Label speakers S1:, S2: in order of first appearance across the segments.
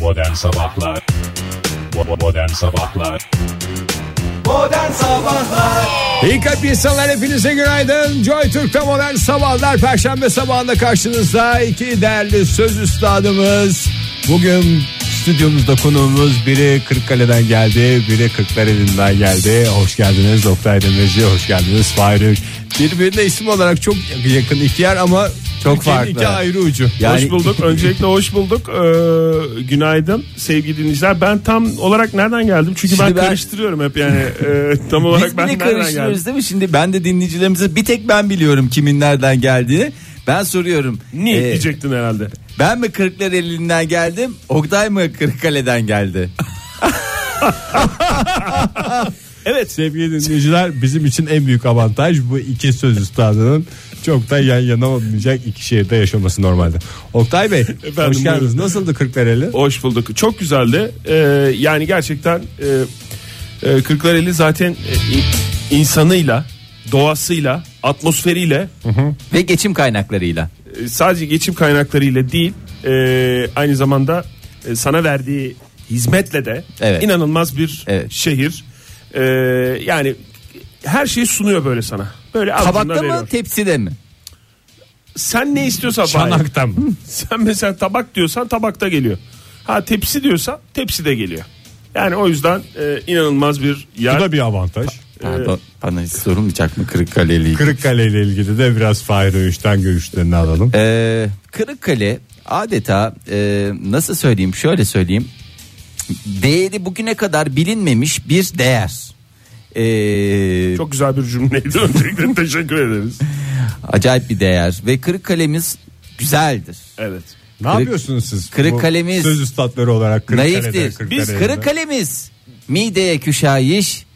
S1: Modern Sabahlar Bo- Modern Sabahlar
S2: Modern Sabahlar
S3: İyi kalp insanlar hepinize günaydın. Joy Türk'te modern sabahlar. Perşembe sabahında karşınızda iki değerli söz üstadımız. Bugün stüdyomuzda konuğumuz biri Kırıkkale'den geldi, biri Kırklareli'nden geldi. Hoş geldiniz Oktay Demirci, hoş geldiniz Fahir Birbirine isim olarak çok yakın iki yer ama çok farklı. iki ayrı ucu.
S2: Hani-
S4: Hoş bulduk. Öncelikle hoş bulduk. Ee, günaydın sevgili dinleyiciler. Ben tam olarak nereden geldim? Çünkü
S2: Şimdi
S4: ben,
S2: ben-
S4: karıştırıyorum hep yani. Ee, tam
S2: Biz
S4: olarak ben
S2: bile
S4: nereden geldim?
S2: karıştırıyoruz değil mi şimdi ben de dinleyicilerimize bir tek ben biliyorum kimin nereden geldiğini ben soruyorum
S4: Niye
S2: Ee,
S4: diyecektin herhalde.
S2: ben mi Kırklar elinden geldim Oktay mı Kırıkkale'den geldi
S4: Evet.
S3: Sevgili dinleyiciler bizim için en büyük avantaj bu iki söz üstadının çok da yan yana olmayacak iki şehirde yaşaması normalde. Oktay Bey hoş geldiniz.
S4: buyurun.
S3: Nasıldı Kırklareli?
S4: Hoş bulduk. Çok güzeldi. Ee, yani gerçekten e, e, Kırklareli zaten e, in- insanıyla, doğasıyla, atmosferiyle
S2: ve geçim kaynaklarıyla
S4: e, sadece geçim kaynaklarıyla değil e, aynı zamanda e, sana verdiği hizmetle de
S2: Evet.
S4: inanılmaz bir
S2: Evet.
S4: şehir. E, yani her şeyi sunuyor böyle sana. Böyle ağzına
S2: tabakta mı
S4: veriyor.
S2: tepside mi
S4: Sen ne istiyorsan Fahir.
S3: Çanak'tan mı?
S4: Sen mesela tabak diyorsan tabakta geliyor. Ha tepsi diyorsan tepside geliyor. Yani o yüzden e, inanılmaz bir
S3: Bu
S4: yer.
S3: da bir avantaj.
S2: Ee, Pardon, bana hiç sorulmayacak mı Kırıkkale'liyi?
S3: Kırıkkale ile ilgili de biraz Fahir Öğüş'ten görüşlerini alalım.
S2: Ee, Kırıkkale adeta e, nasıl söyleyeyim şöyle söyleyeyim değeri bugüne kadar bilinmemiş bir değer. Ee,
S4: Çok güzel bir cümleydi. Öncelikle teşekkür ederiz.
S2: acayip bir değer ve Kırıkkale'miz güzeldir.
S4: Evet.
S3: ne yapıyorsunuz siz?
S2: Kırıkkale'miz-
S3: Bu Söz üstadları olarak Kırıkkale'de.
S2: Naiftir. Biz
S3: Kırıkkale'de.
S2: Kırıkkale'miz mideye küşayiş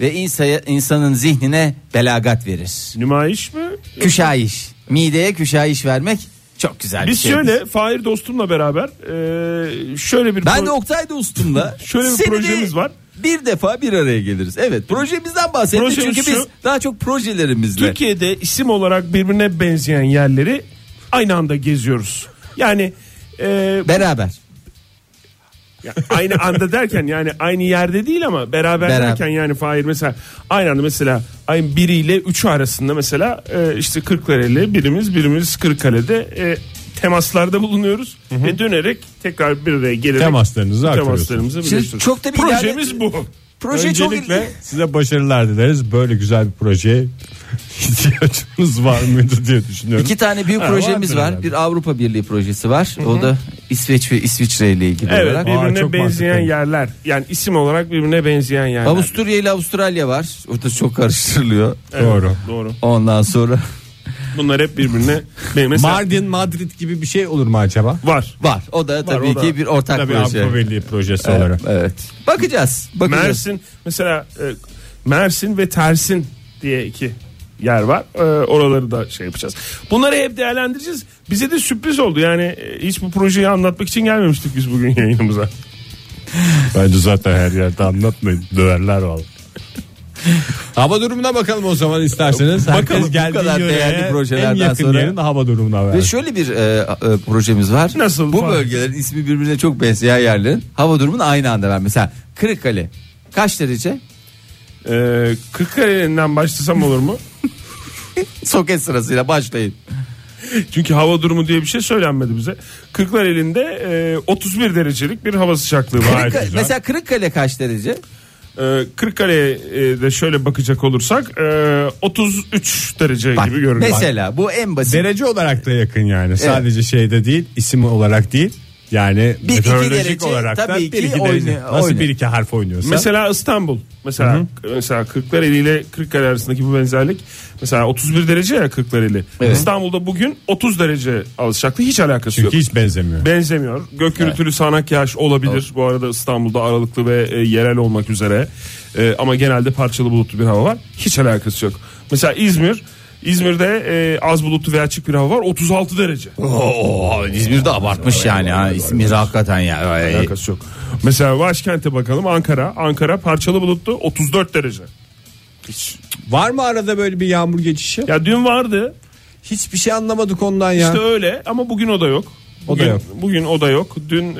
S2: ve insaya, insanın zihnine belagat verir.
S4: Nümayiş mi?
S2: Küşayiş. Mideye küşayiş vermek çok güzel bir
S4: Biz
S2: şey.
S4: şöyle Fahir dostumla beraber e, şöyle bir
S2: Ben
S4: pro-
S2: de Oktay Dostum'la
S4: Şöyle bir
S2: senede
S4: projemiz var.
S2: Bir defa bir araya geliriz. Evet projemizden bahsettik
S4: Projemiz
S2: çünkü
S4: şu.
S2: biz daha çok projelerimizle.
S4: Türkiye'de isim olarak birbirine benzeyen yerleri aynı anda geziyoruz. Yani e,
S2: Beraber.
S4: Ya aynı anda derken yani aynı yerde değil ama beraber,
S2: Beraber.
S4: derken yani Fahir mesela aynı anda mesela aynı biriyle üçü arasında mesela e, işte Kırklareli birimiz birimiz Kırıkkale'de e, temaslarda bulunuyoruz ve dönerek tekrar bir araya gelerek
S3: Temaslarınızı
S4: temaslarımızı
S2: Şimdi
S4: birleştiriyoruz.
S2: çok da bir
S4: Projemiz
S2: ilerle-
S4: bu.
S2: Proje çok
S3: Öncelikle
S2: ilginç.
S3: size başarılar dileriz. Böyle güzel bir projeye ihtiyacınız var mıydı diye düşünüyorum.
S2: İki tane büyük
S3: Ha,
S2: projemiz
S3: vardır
S2: var.
S3: herhalde.
S2: Bir Avrupa Birliği projesi var. O da İsveç ve İsviçre ile ilgili
S4: Evet
S3: Aa,
S2: olarak.
S4: birbirine
S3: çok
S4: benzeyen
S3: mantıklı.
S4: yerler yani isim olarak birbirine benzeyen yerler.
S2: Avusturya ile Avustralya var. Orada çok karıştırılıyor.
S4: Evet,
S3: Doğru.
S4: Doğru.
S2: Ondan sonra
S4: Bunlar hep birbirine benzeyen.
S3: Mardin, Madrid gibi bir şey olur mu acaba?
S4: var.
S2: var. O da tabii
S4: o da.
S2: ki bir ortak
S3: Tabii
S2: proje.
S3: Avrupa Birliği projesi olarak.
S2: Evet. Bakacağız. Bakacağız.
S4: Mersin mesela e, Mersin ve Tersin diye iki yer var. E, oraları da şey yapacağız. Bunları hep değerlendireceğiz. Bize de sürpriz oldu. Yani e, hiç bu projeyi anlatmak için gelmemiştik biz bugün yayınımıza.
S3: Bence zaten her yerde anlatmayın. Döverler valla. hava durumuna bakalım o zaman isterseniz.
S2: Bakalım
S3: Herkes
S2: bu
S3: geldiği
S2: kadar
S3: yöreye
S2: değerli
S3: en
S2: projelerden
S3: yakın
S2: sonra.
S3: yerin hava durumuna ver.
S2: Ve şöyle bir e, e, projemiz var.
S4: Nasıl?
S2: Bu
S4: Var.
S2: bölgelerin ismi birbirine çok benzeyen yerlerin hava durumunu aynı anda ver. Mesela Kırıkkale kaç derece?
S4: E, Kırıkkale'den başlasam olur mu?
S2: Soket sırasıyla başlayın.
S4: Çünkü hava durumu diye bir şey söylenmedi bize. Kırklareli'nde e, 31 derecelik bir hava sıcaklığı var.
S2: Kırıkkale- mesela Kırıkkale kaç derece?
S4: E, Kırıkkale'ye e, de şöyle bakacak olursak e, 33 derece
S2: Bak,
S4: gibi görünüyor.
S2: mesela bu en basit.
S3: Derece olarak da yakın yani. Sadece şeyde değil, isim olarak değil. Yani
S2: iki
S3: meteorolojik
S2: derece
S3: olarak da
S2: tabii
S3: bir
S2: ki
S3: iki derece.
S2: oyna-
S3: Nasıl
S2: oyna.
S3: bir iki harf oynuyorsa.
S4: Mesela İstanbul. Mesela mesela Kırklareli ile Kırıkkale arasındaki bu benzerlik. Mesela 31 derece ya Kırklareli. İstanbul'da bugün 30 derece hava sıcaklığı hiç alakası
S3: çünkü
S4: yok.
S3: hiç benzemiyor.
S4: Benzemiyor. Gök gürültülü sağanak yağış olabilir. Bu arada İstanbul'da aralıklı ve e, yerel olmak üzere. E, ama genelde parçalı bulutlu bir hava var. Hiç alakası yok. Mesela İzmir. İzmir'de e, az bulutlu ve açık bir hava var. 36 derece.
S2: Oo, İzmir'de abartmış yani. Ha. İzmir hakikaten ya.
S3: E,
S2: Ay.
S4: Alakası yok. Mesela başkente bakalım Ankara. Ankara parçalı bulutlu 34 derece.
S3: Var mı arada böyle bir yağmur geçişi?
S4: Ya dün vardı.
S3: Hiçbir şey anlamadık ondan ya.
S4: İşte öyle ama bugün o da yok.
S3: O da
S4: Bugün-
S3: yok.
S4: Bugün o da yok. Dün e,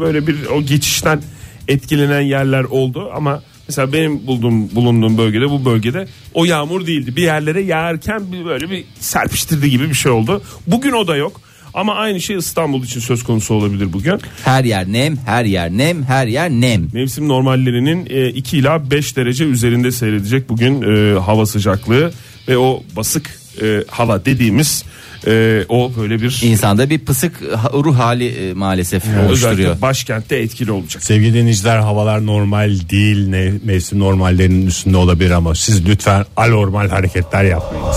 S4: böyle bir o geçişten etkilenen yerler oldu ama mesela benim bulduğum bulunduğum bölgede bu bölgede o yağmur değildi. Bir yerlere yağarken bir böyle bir serpiştirdi gibi bir şey oldu. Bugün o da yok. Ama aynı şey İstanbul için söz konusu olabilir bugün.
S2: Her yer nem, her yer nem, her yer nem.
S4: Mevsim normallerinin e, 2 ila 5 derece üzerinde seyredecek bugün e, hava sıcaklığı ve o basık e, hava dediğimiz e, o böyle bir
S2: İnsanda bir pısık ha- ruh hali e, maalesef oluşturuyor.
S4: özellikle başkentte etkili olacak.
S3: Sevgili dinleyiciler havalar normal değil ne mevsim normallerinin üstünde olabilir ama siz lütfen anormal hareketler yapmayınız.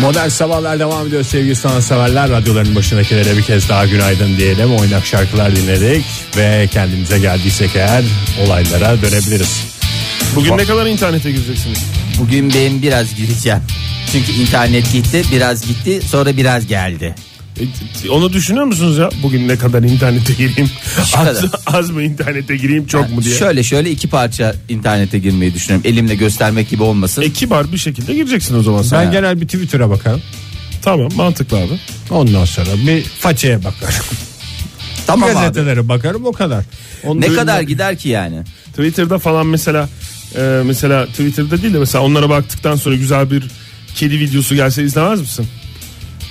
S3: Modern Sabahlar devam ediyor sevgili sanatseverler. Radyoların başındakilere bir kez daha günaydın diyelim. Oynak şarkılar dinledik ve kendimize geldiysek eğer olaylara dönebiliriz.
S4: Bugün ne kadar internete gireceksiniz?
S2: Bugün ben biraz gireceğim. Çünkü internet gitti, biraz gitti, sonra biraz geldi.
S4: E, Onu düşünüyor musunuz ya? Bugün ne kadar internete gireyim?
S2: Şu
S4: Az,
S2: kadar.
S4: az mı internete gireyim çok mu diye.
S2: Şöyle şöyle iki parça internete girmeyi düşünüyorum. Elimle göstermek gibi olmasın.
S4: E kibar bir şekilde gireceksin o zaman sen.
S3: Ben genel bir Twitter'a bakarım.
S4: Tamam mantıklı abi.
S3: Ondan sonra bir façeye bakarım.
S2: tamam abi.
S3: Gazetelere bakarım o kadar. Onun
S2: Ne
S3: dışında-
S2: kadar gider ki yani?
S4: Twitter'da falan mesela e, mesela Twitter'da değil de mesela onlara baktıktan sonra güzel bir kedi videosu gelse izlemez misin?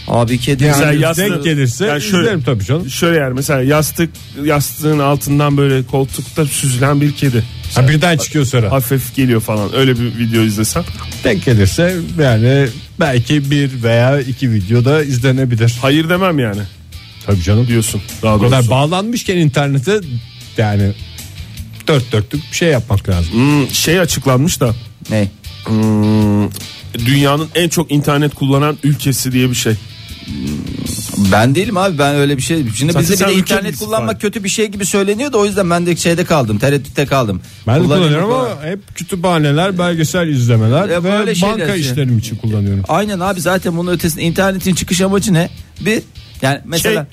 S2: Abi kedi
S4: Mesela
S3: Yani
S4: yastığı-
S3: denk gelirse
S4: Yani şöyle-
S3: izlerim tabii canım.
S4: Şöyle yani mesela yastık yastığın altından böyle koltukta süzülen bir kedi.
S3: Ha, birden çıkıyor sonra.
S4: Hafif geliyor falan. Öyle bir video izlesen.
S3: denk gelirse yani belki bir veya iki videoda izlenebilir.
S4: Hayır demem yani
S3: Tabii canım.
S4: diyorsun. Daha
S3: O kadar
S4: doğrusu.
S3: bağlanmışken internete yani dört dörtlük bir şey yapmak lazım.
S4: Hmm, şey açıklanmış da
S2: ne?
S4: Hmm, dünyanın en çok internet kullanan ülkesi diye bir şey.
S2: Ben değilim abi ben öyle bir şey. Şimdi
S4: Zaten
S2: bize
S4: sen
S2: bir de
S4: ülke
S2: internet
S4: bilgisi
S2: kullanmak
S4: var.
S2: kötü bir şey gibi söyleniyor da o yüzden ben de şeyde kaldım. Tereddütte kaldım.
S3: Ben de
S2: Kullanıyorum
S3: kullanıyorum ama hep kütüphaneler, belgesel izlemeler
S2: Ya
S3: ve
S2: böyle şeyler
S3: banka
S2: şey.
S3: işlerim için kullanıyorum.
S2: Aynen abi zaten bunun ötesinde internetin çıkış amacı ne? Bir yani
S4: Şey,
S2: mesela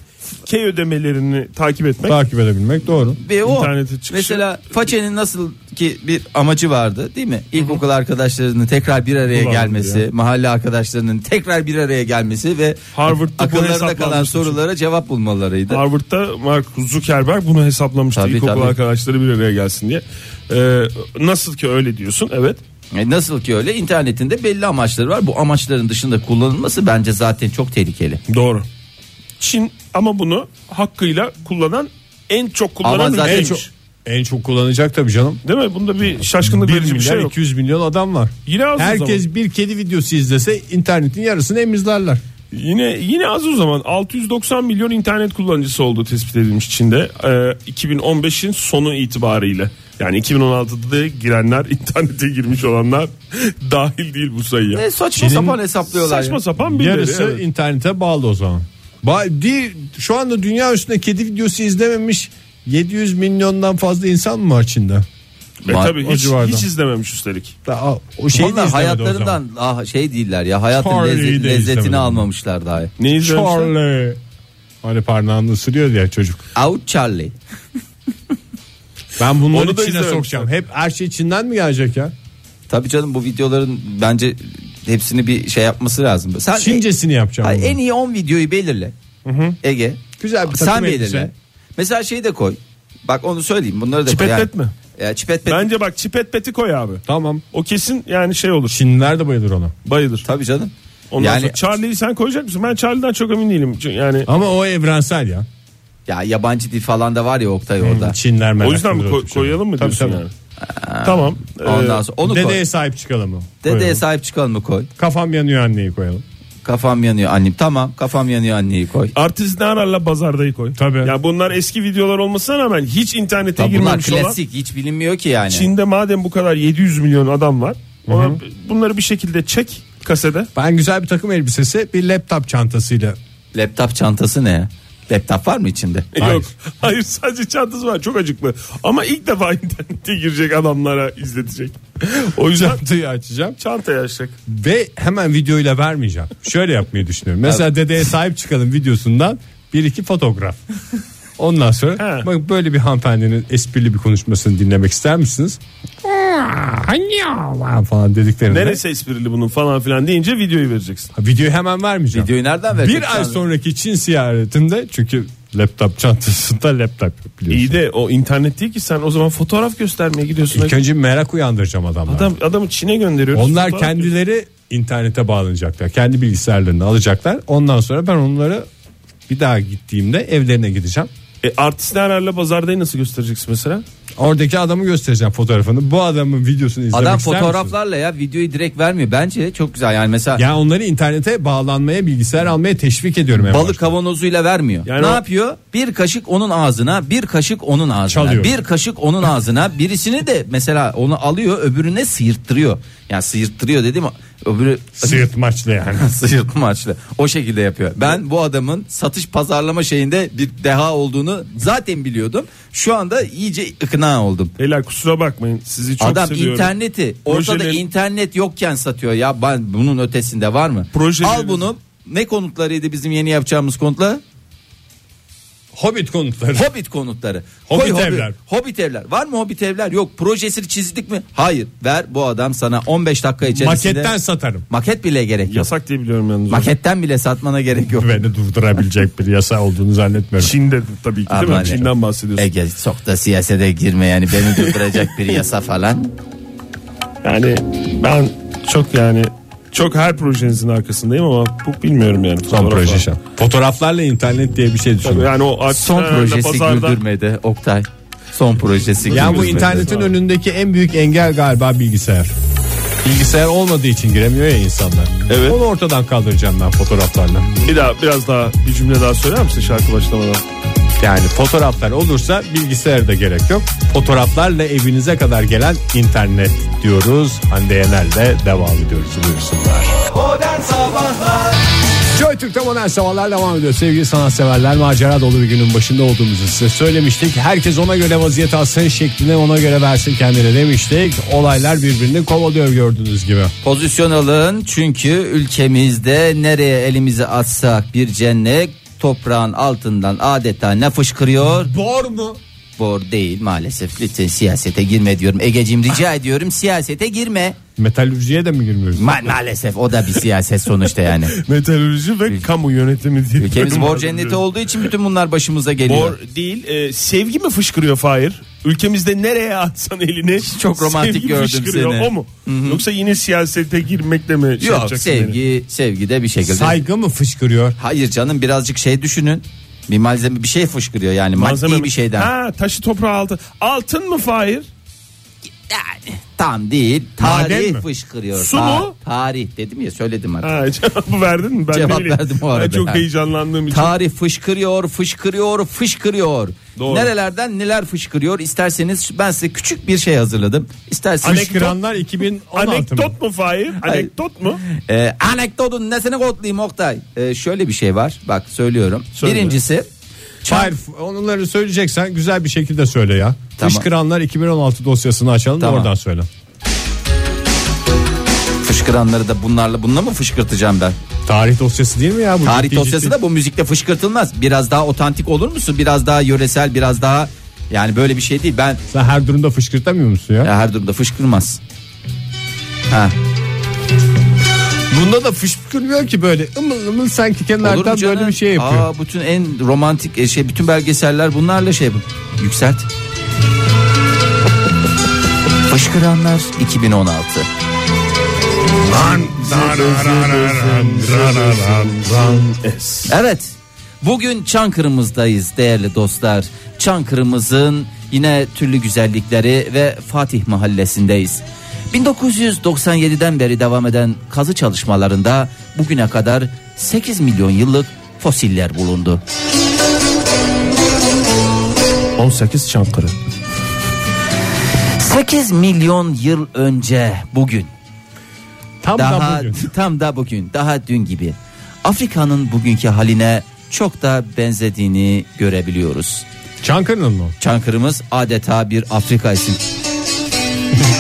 S4: K ödemelerini takip etmek.
S3: Takip edebilmek doğru.
S2: bir o
S4: İnternete çıkışı-
S2: mesela façenin nasıl ki bir amacı vardı değil mi? İlkokul arkadaşlarının tekrar bir araya
S4: Kullandı
S2: gelmesi, mahalle arkadaşlarının tekrar bir araya gelmesi ve
S4: Harvard'da bu
S2: akıllarında kalan
S4: hesaplanmıştı çünkü.
S2: sorulara cevap bulmalarıydı.
S4: Harvard'da Mark Zuckerberg bunu hesaplamıştı.
S2: Tabii,
S4: İlkokul
S2: tabii.
S4: arkadaşları bir araya gelsin diye. Ee, nasıl ki öyle diyorsun evet.
S2: E nasıl ki öyle internetinde belli amaçları var. Bu amaçların dışında kullanılması bence zaten çok tehlikeli.
S4: Doğru. Çin ama bunu hakkıyla kullanan en çok
S2: Ama
S4: kullanan
S2: zaten
S4: neymiş?
S2: çok-
S3: En çok kullanacak tabii canım.
S4: Değil mi? Bunda bir
S3: 1
S4: şaşkınlık verici
S3: milyar
S4: bir şey yok.
S3: 200 milyon adam var.
S4: Yine az o
S3: Herkes bir kedi videosu izlese internetin yarısını emizlerler.
S4: Yine yine az o zaman 690 milyon internet kullanıcısı olduğu tespit edilmiş Çin'de Ee, 2015'in sonu itibariyle. Yani 2016'da girenler internete girmiş olanlar dahil değil bu sayıya.
S2: Ne E, saçma
S3: Çin'in
S2: sapan hesaplıyorlar.
S4: Saçma
S2: ya.
S4: sapan bir
S3: Yarısı internete bağlı o zaman. Ba- değil, şu anda dünya üstünde kedi videosu izlememiş 700 milyondan fazla insan mı var Çin'de?
S4: E
S2: Var,
S4: tabii
S3: o
S4: hiç,
S3: civarda.
S4: hiç izlememiş üstelik.
S3: Daha o şeyi de
S2: Vallahi
S3: izlemedi o zaman.
S2: hayatlarından ah, şey değiller ya hayatın
S3: Charlie'yi
S2: lezzet-
S3: de izlemedim.
S2: lezzetini almamışlar daha.
S4: Ne izlemişler?
S3: Charlie. Hani parnağını şey- ısırıyor ya çocuk.
S2: Out Charlie.
S3: Ben bunları
S4: Onu da
S3: Çin'e
S4: izlememişler.
S3: sokacağım. Hep her şey Çin'den mi gelecek ya?
S2: Tabii canım bu videoların bence hepsini bir şey yapması lazım. Sen
S3: Çincesini yapacağım.
S2: Ay,
S3: bunu.
S2: en iyi 10 videoyu belirle. Ege.
S3: Güzel bir
S2: Sen
S3: takım
S2: belirle.
S3: elbise.
S2: Mesela şeyi de koy. Bak onu söyleyeyim. Bunları da koy.
S4: Çipetlet
S2: Yani-
S4: mi?
S2: Ya, çipetlet.
S4: Bence bak çipet peti koy abi.
S3: Tamam.
S4: O kesin yani şey olur.
S3: Çinliler de bayılır ona.
S4: Bayılır.
S2: Tabii canım.
S4: Ondan
S2: yani
S4: sonra Charlie'yi sen koyacak mısın? Ben Charlie'den çok emin değilim. Çünkü Yani
S3: Ama o evrensel ya.
S2: ya yabancı dil falan da var ya Oktay
S3: Hmm,
S2: orada.
S3: Çinler merak
S4: o yüzden mi koy-
S3: şey.
S4: koyalım mı diyorsun yani? Tamam.
S2: Ondan
S4: Ee,
S2: sonra onu
S3: e, Dedeye
S2: koy.
S3: sahip çıkalım mı?
S2: Dedeye
S3: Koyalım.
S2: sahip çıkalım mı koy.
S3: Kafam yanıyor anneyi koyalım.
S2: Kafam yanıyor annem. Tamam kafam yanıyor anneyi koy.
S4: Artist ne ararla bazardayı koy.
S3: Tabii.
S4: Ya bunlar eski videolar olmasına rağmen hiç internete
S2: Ya bunlar
S4: girmemiş olan.
S2: klasik hiç bilinmiyor ki yani.
S4: Çin'de madem bu kadar 700 milyon adam var. ona bunları bir şekilde çek kasede.
S3: Ben güzel bir takım elbisesi bir laptop çantasıyla
S2: Laptop çantası ne? Laptop var mı içinde?
S3: Hayır.
S4: E, Yok. Hayır sadece çantası var. Çok acıklı. Ama ilk defa internete girecek adamlara izletecek. O yüzden
S3: çantayı açacağım
S4: çantaya açacak.
S3: ve hemen videoyla vermeyeceğim. Şöyle yapmayı düşünüyorum. Mesela dedeye sahip çıkalım videosundan bir iki fotoğraf. Ondan sonra
S4: He.
S3: bak böyle bir hanımefendinin esprili bir konuşmasını dinlemek ister misiniz? falan dediklerinde.
S4: Neresi esprili bunun falan filan deyince videoyu vereceksin.
S3: Ha, Videoyu hemen vermeyeceğim.
S2: Videoyu nereden verecek?
S3: bir ay sonraki Çin ziyaretinde çünkü laptop çantasında laptop yok biliyorsun.
S4: İyi de o internet değil ki sen o zaman fotoğraf göstermeye gidiyorsun.
S3: İlk önce merak uyandıracağım adamlar.
S4: Adam adamı Çin'e gönderiyoruz.
S3: Onlar
S4: Fotoğraf-
S3: kendileri internete bağlanacaklar. Kendi bilgisayarlarını alacaklar. Ondan sonra ben onları bir daha gittiğimde evlerine gideceğim.
S4: E, artist herhalde pazardayı nasıl göstereceksin mesela?
S3: Oradaki adamı göstereceğim fotoğrafını. Bu adamın videosunu izlemek
S2: Adam
S3: ister misin?
S2: fotoğraflarla ya videoyu direkt vermiyor. Bence çok güzel yani mesela
S3: Ya onları internete bağlanmaya, bilgisayar almaya teşvik ediyorum. en
S2: balık
S3: başta.
S2: kavanozuyla vermiyor.
S4: Yani
S2: ne
S4: o-
S2: yapıyor? Bir kaşık onun ağzına, bir kaşık onun ağzına,
S3: Çalıyor.
S2: bir kaşık onun ağzına. Birisini de mesela onu alıyor, öbürüne sıyırttırıyor. Yani sıyırttırıyor dedim öbürü
S3: Sıyırtmaçlı yani.
S2: sıyırtma açlı. O şekilde yapıyor. Ben bu adamın satış pazarlama şeyinde bir deha olduğunu zaten biliyordum. Şu anda iyice ikna oldum.
S4: Beyler kusura bakmayın sizi çok
S2: Adam
S4: seviyorum.
S2: interneti ortada
S4: Projelerin-
S2: internet yokken satıyor ya ben bunun ötesinde var mı?
S4: Projelerin-
S2: Al bunu ne konutlarıydı bizim yeni yapacağımız konutlar?
S3: Hobbit konutları.
S2: Hobbit konutları.
S3: Hobbit
S2: Koy
S3: evler.
S2: Hobbit evler. Var mı Hobbit evler? Yok. Projesini çizdik mi? Hayır. Ver bu adam sana 15 dakika içerisinde.
S3: Maketten satarım.
S2: Maket bile gerek yok.
S4: Yasak diye biliyorum yalnız.
S2: Maketten bile satmana gerek yok.
S3: Beni durdurabilecek bir yasa olduğunu zannetmiyorum.
S4: Çin'de tabii ki değil mi?
S2: Aman
S4: Çin'den bahsediyorsun.
S2: Ege çok da siyasete girme yani beni durduracak bir yasa falan.
S4: Yani ben çok yani çok her projenizin arkasındayım ama bu bilmiyorum yani.
S3: Son
S4: Fotoğraf
S3: proje
S4: var.
S3: şu an. Fotoğraflarla internet diye bir şey
S4: Tabii
S3: düşünüyorum.
S4: yani o artist
S2: Son
S4: herhalde
S2: projesi
S4: pazarda-
S2: güldürmedi Oktay. Son projesi
S3: Ya bu
S2: güldürmedi.
S3: internetin önündeki en büyük engel galiba bilgisayar. Bilgisayar olmadığı için giremiyor ya insanlar.
S4: Evet.
S3: Onu ortadan kaldıracağım ben fotoğraflarla.
S4: Bir daha biraz daha bir cümle daha söyler misin şarkı başlamadan?
S3: Yani fotoğraflar olursa bilgisayara da gerek yok. Fotoğraflarla evinize kadar gelen internet diyoruz. Hande Yener'le devam ediyoruz. Buyursunlar. Joy Türk'te modern sabahlar devam ediyor. Sevgili sanatseverler macera dolu bir günün başında olduğumuzu size söylemiştik. Herkes ona göre vaziyet alsın şekline ona göre versin kendine demiştik. Olaylar birbirini kovalıyor gördüğünüz gibi.
S2: Pozisyon alın çünkü ülkemizde nereye elimizi atsak bir cennet toprağın altından adeta ne fışkırıyor?
S3: Bor mu?
S2: Bor değil maalesef lütfen siyasete girme diyorum. Egeciğim rica ediyorum siyasete girme.
S3: Metalürjiye de mi girmiyoruz?
S2: Ma- maalesef o da bir siyaset sonuçta yani.
S4: Meteoroloji ve kamu yönetimi diye.
S2: Ülkemiz bor cenneti olduğu için bütün bunlar başımıza geliyor.
S4: Bor değil e, sevgi mi fışkırıyor Fahir? Ülkemizde nereye atsan elini
S2: çok romantik
S4: sevgi
S2: gördüm
S4: fışkırıyor,
S2: seni.
S4: O mu? Yoksa yine siyasete girmekle mi şey
S2: Yok
S4: yapacaksın
S2: sevgi sevgi de bir şekilde.
S3: Saygı mı fışkırıyor?
S2: Hayır canım birazcık şey düşünün. Bir malzeme bir şey fışkırıyor yani
S4: beni? Malzeme
S2: maddi
S4: mi?
S2: bir şeyden.
S4: Ha taşı toprağı altı. Altın mı Fahir?
S2: Yani tam değil.
S3: Maden
S2: Tarih
S3: mi?
S2: fışkırıyor.
S4: Su
S2: Ta-
S4: mu?
S2: Tarih dedim ya söyledim hatta.
S4: Ha cevabı verdin mi? Ben
S2: Cevap
S4: ne bileyim.
S2: verdim o arada.
S4: Ben çok
S2: Ha.
S4: heyecanlandığım için.
S2: Tarih fışkırıyor, fışkırıyor, fışkırıyor.
S4: Doğru.
S2: Nerelerden neler fışkırıyor? İsterseniz ben size küçük bir şey hazırladım. İsterseniz
S3: Fışkıranlar 2016 mı?
S4: Anekdot mu Fahir? Anekdot mu?
S2: Ee, anekdotun nesini kodlayayım Oktay? Ee, şöyle bir şey var. Bak söylüyorum.
S4: Söyle.
S2: Birincisi
S3: Hayır onları söyleyeceksen güzel bir şekilde söyle ya.
S2: Tamam.
S3: Fışkıranlar 2016 dosyasını açalım da
S2: Tamam.
S3: oradan söyle.
S2: fışkıranları da bunlarla bununla mı fışkırtacağım ben?
S3: Tarih dosyası değil mi ya? Bu
S2: Tarih
S3: Ciddi
S2: dosyası
S3: ciddi.
S2: da bu müzikte fışkırtılmaz. Biraz daha otantik olur musun? Biraz daha yöresel, biraz daha yani böyle bir şey değil. Ben
S3: Sen her durumda fışkırtamıyor musun ya?
S2: Ya her durumda fışkırmaz. Ha,
S3: Bunda da fışkırmıyor ki böyle ımıl ımıl sanki
S2: olur mu
S3: kenardan
S2: canım?
S3: böyle bir şey yapıyor.
S2: Aa, bütün en romantik e, şey bütün belgeseller bunlarla şey bu. Yükselt. Fışkıranlar 2016. Evet. Bugün Çankırı'mızdayız değerli dostlar. Çankırı'mızın yine türlü güzellikleri ve Fatih Mahallesi'ndeyiz. 1997'den beri devam eden kazı çalışmalarında bugüne kadar 8 milyon yıllık fosiller bulundu.
S4: 18 Çankırı.
S2: 8 milyon yıl önce bugün
S3: Tam da
S2: daha
S3: bugün.
S2: tam da bugün daha dün gibi Afrika'nın bugünkü haline çok da benzediğini görebiliyoruz.
S3: Çankırı'nın mı?
S2: Çankırımız adeta bir Afrika isim.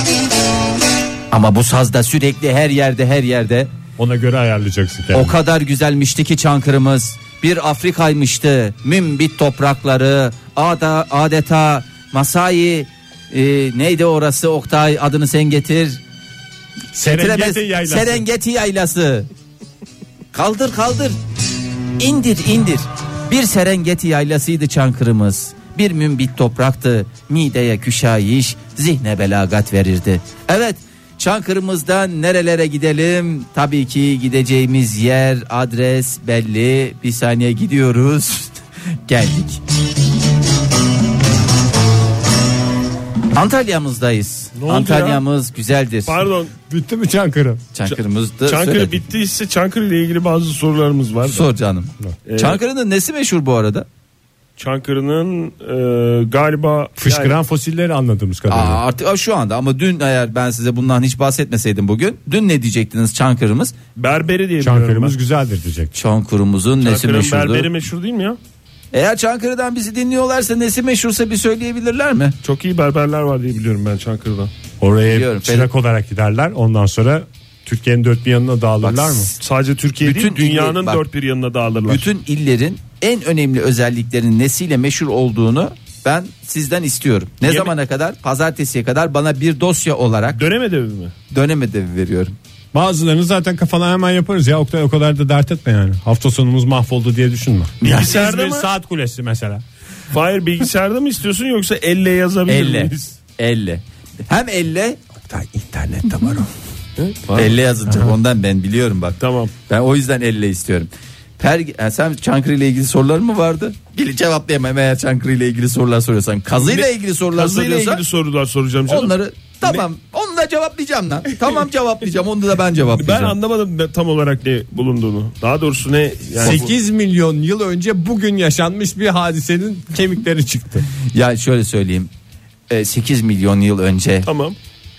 S2: Ama bu sazda sürekli her yerde her yerde
S3: Ona göre ayarlayacaksın kendini.
S2: o kadar güzelmişti ki Çankırımız. bir Afrika'ymıştı. Mümbit toprakları ada, adeta Masai e, neydi orası Oktay adını sen getir.
S3: Serengeti
S2: Trabes-
S3: yaylası.
S2: Serengeti yaylası. kaldır kaldır. İndir indir. Bir Serengeti yaylasıydı Çankırımız. Bir mümbit topraktı. Mideye küşayiş, zihne belagat verirdi. Evet, Çankırımızdan nerelere gidelim? Tabii ki gideceğimiz yer, adres belli. Bir saniye gidiyoruz. Geldik. Antalya'mızdayız.
S4: Ne oldu ya?
S2: Antalya'mız güzeldir.
S4: Pardon.
S3: Bitti mi Çankırı?
S2: Çankırımızda
S4: Çankırı
S2: söyledim.
S4: bittiyse Çankırı ile ilgili bazı sorularımız var. da.
S2: Sor canım.
S4: Ee,
S2: Çankırı'nın nesi meşhur bu arada?
S4: Çankırı'nın e, galiba
S3: Fışkıran
S4: Yani
S3: fosilleri anladığımız kadarıyla.
S2: Aa, artık aa, şu anda ama dün eğer ben size bundan hiç bahsetmeseydim bugün dün ne diyecektiniz Çankırımız?
S4: berberi diye biliyorum
S3: Çankırımız
S4: ben.
S3: güzeldir diyecek.
S2: Çankırımızın nesi
S4: Çankırı'nın
S2: meşhurdu?
S4: berberi meşhur değil mi ya?
S2: Eğer Çankırı'dan bizi dinliyorlarsa nesi meşhursa bir söyleyebilirler mi?
S4: Çok iyi berberler var diye biliyorum ben Çankırı'dan.
S3: Oraya
S2: Biliyorum,
S3: çırak olarak giderler. Ondan sonra Türkiye'nin dört bir yanına dağılırlar mı?
S4: Sadece Türkiye
S2: Bütün
S4: değil dünyanın
S2: illi- bak-
S4: dört bir yanına dağılırlar.
S2: Bütün illerin en önemli özelliklerinin nesiyle meşhur olduğunu ben sizden istiyorum. Ne
S4: Yeme-
S2: zamana kadar? Pazartesiye kadar bana bir dosya olarak
S4: Dönem ödevi mi?
S2: dönem ödevi veriyorum.
S3: Bazılarını zaten kafana hemen yaparız ya. Oktay o kadar da dert etme yani. Hafta sonumuz mahvoldu diye düşünme.
S4: Bilgisayarda
S3: İzmir
S4: mı?
S3: saat kulesi mesela.
S4: Hayır bilgisayarda mı istiyorsun yoksa elle yazabilir
S2: 50.
S4: miyiz?
S2: 50. Hem 50 internette var o. 50 yazınca ondan ben biliyorum bak.
S4: Tamam.
S2: Ben o yüzden 50 istiyorum. Per, e, sen Çankırı ile ilgili sorular mı vardı? Bili cevaplayamam eğer Çankırı ile ilgili sorular soruyorsan. Kazı ile ilgili sorular
S4: Kazıyla
S2: soruyorsan
S4: ilgili sorular soracağım canım.
S2: onları tamam onu da cevaplayacağım lan. tamam cevaplayacağım onu da ben
S4: Ben
S2: cevaplayacağım.
S4: anlamadım ne- tam olarak ne bulunduğunu. Daha doğrusu ne yani bu-
S3: 8 milyon yıl önce bugün yaşanmış bir hadisenin kemikleri çıktı.
S2: Ya şöyle söyleyeyim. E, 8 milyon yıl önce
S4: Tamam.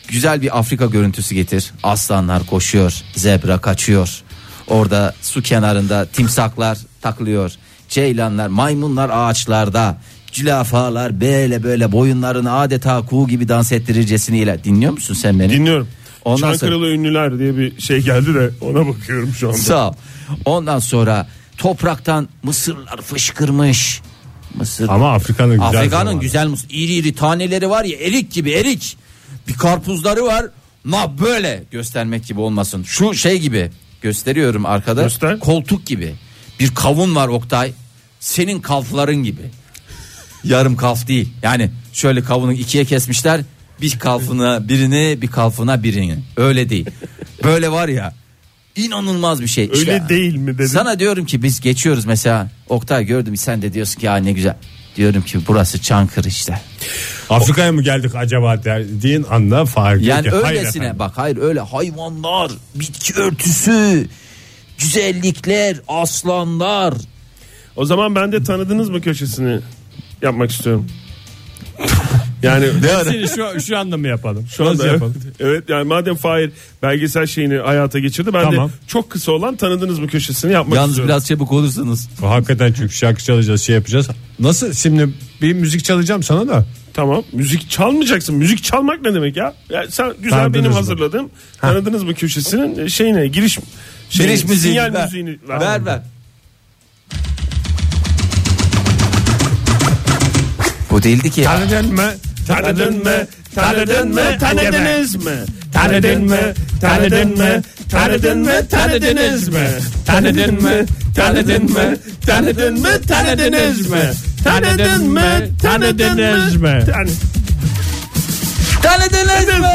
S2: güzel bir Afrika görüntüsü getir. Aslanlar koşuyor, zebra kaçıyor. Orada su kenarında timsaklar taklıyor. Ceylanlar, maymunlar ağaçlarda. Cülafalar böyle böyle boyunlarını adeta kuğu gibi dans ettirircesiniyle. Dinliyor musun sen beni?
S4: Dinliyorum.
S2: Ondan sonra-
S4: Çankırılı ünlüler diye bir şey geldi de ona bakıyorum şu anda.
S2: Sağ ol. Ondan sonra topraktan mısırlar fışkırmış. Mısır.
S3: Ama Afrika'nın güzel
S2: Afrika'nın
S3: zamanı.
S2: güzel mısır. İri iri taneleri var ya erik gibi erik. Bir karpuzları var. Ma böyle göstermek gibi olmasın. Şu şey gibi gösteriyorum arkada.
S4: Göster.
S2: Koltuk gibi. Bir kavun var Oktay. Senin kalfların gibi. Yarım kalf değil. Yani şöyle kavunu ikiye kesmişler. Bir kalfına birini bir kalfına birini. Öyle değil. Böyle var ya inanılmaz bir şey.
S4: Öyle değil mi dedim.
S2: Sana diyorum ki biz geçiyoruz mesela. Oktay gördüm sen de diyorsun ki ya ne güzel. Diyorum ki burası Çankırı işte.
S3: Afrika'ya mı geldik acaba dediğin anda fark ediyor ki,
S2: Yani
S3: hayır
S2: öylesine
S3: efendim.
S2: bak hayır öyle hayvanlar, bitki örtüsü, güzellikler, aslanlar.
S4: O zaman ben de tanıdınız mı köşesini yapmak istiyorum. yani
S3: Seni şu, şu anda mı yapalım? Şu
S4: Evet, evet yani madem Fahir belgesel şeyini hayata geçirdi ben
S3: Tamam.
S4: de çok kısa olan tanıdınız mı köşesini yapmak
S2: Yalnız
S4: istiyorum.
S2: biraz çabuk olursanız.
S3: Hakikaten çünkü şarkı çalacağız şey yapacağız. Nasıl şimdi bir müzik çalacağım sana da.
S4: Tamam müzik çalmayacaksın müzik çalmak ne demek ya? Ya sen güzel
S3: Tanıdınız
S4: benim
S3: mı?
S4: hazırladığım tanıdınız mı köşesinin e, şeyine giriş şeyine,
S2: Giriş müziği
S4: Şey, sinyal
S2: ver.
S4: müziğini
S2: Ver ver. Bu değildi ki ya.
S3: Tanıdın mı?
S4: Tanıdın mı? Tanıdın mı? Tanıdınız mı? Tanıdın mı? Tanıdın mı? Tanıdın mı? Tanıdınız mı? Tanıdın mı? Tanıdın mı? Tanıdın mı? Tanıdınız mı? Tanıdın mı? Tanıdınız mı? Tan-
S2: Tanıdınız mı?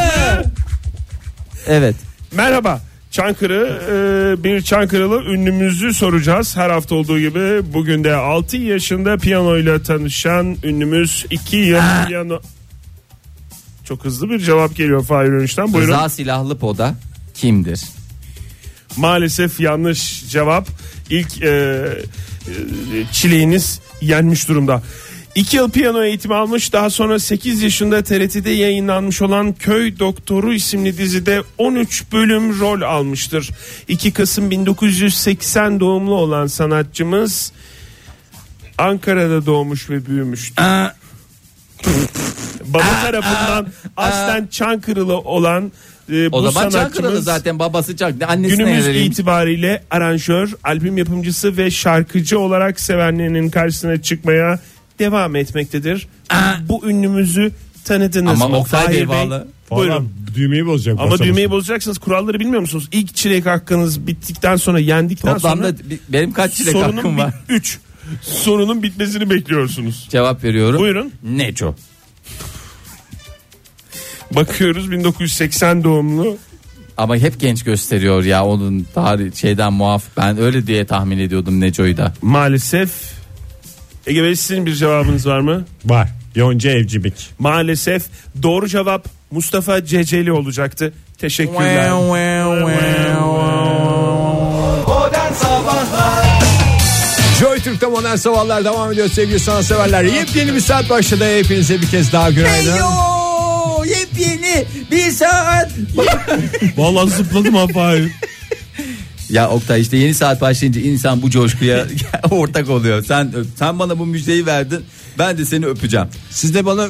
S2: Evet.
S4: Merhaba. Çankırı e, bir Çankırılı ünlümüzü soracağız. Her hafta olduğu gibi bugün de 6 yaşında piyanoyla tanışan ünlümüz 2 yıl piyano... Çok hızlı bir cevap geliyor Fahir Önüş'ten. Buyurun.
S2: Rıza Silahlı Poda kimdir?
S4: Maalesef yanlış cevap. İlk e, e, çileğiniz yenmiş durumda. 2 yıl piyano eğitimi almış daha sonra 8 yaşında TRT'de yayınlanmış olan Köy Doktoru isimli dizide 13 bölüm rol almıştır. 2 Kasım 1980 doğumlu olan sanatçımız Ankara'da doğmuş ve büyümüştür. Baba tarafından aslen Çankırılı olan e, bu
S2: O zaman Çankırı'da
S4: sanatçımız
S2: zaten babası Çankırı. Annesine
S4: günümüz
S2: vereyim.
S4: itibariyle aranjör, albüm yapımcısı ve şarkıcı olarak sevenlerinin karşısına çıkmaya devam etmektedir. Bu ünlümüzü tanıdınız
S2: Ee, Ama
S4: mı?
S2: Oktay
S4: Fahir
S2: Bey bağlı.
S3: Valla
S4: Buyurun.
S3: düğmeyi bozacak.
S4: Ama
S3: basarız.
S4: düğmeyi bozacaksınız. Kuralları bilmiyor musunuz? İlk çilek hakkınız bittikten sonra yendikten sonra
S2: Toplamda bi- benim kaç çilek hakkım var?
S4: 3. Sorunun bitmesini bekliyorsunuz.
S2: Cevap veriyorum.
S4: Buyurun.
S2: Neco.
S4: Bakıyoruz 1980 doğumlu.
S2: Ama hep genç gösteriyor ya onun tarih şeyden muaf. Ben öyle diye tahmin ediyordum Neco'yu da.
S4: Maalesef Ege Bey sizin bir cevabınız var mı?
S3: Var. Yonca Evcimik.
S4: Maalesef doğru cevap Mustafa Ceceli olacaktı. Teşekkürler.
S3: Joy Türk'te modern sabahlar devam ediyor sevgili sanatseverler. Yepyeni bir saat başladı. Hepinize bir kez daha günaydın.
S2: Yepyeni bir saat.
S4: Vallahi zıpladım abi.
S2: Ya Oktay işte yeni saat başlayınca insan bu coşkuya ortak oluyor. Sen sen bana bu müjdeyi verdin. Ben de seni öpeceğim.
S3: Siz de bana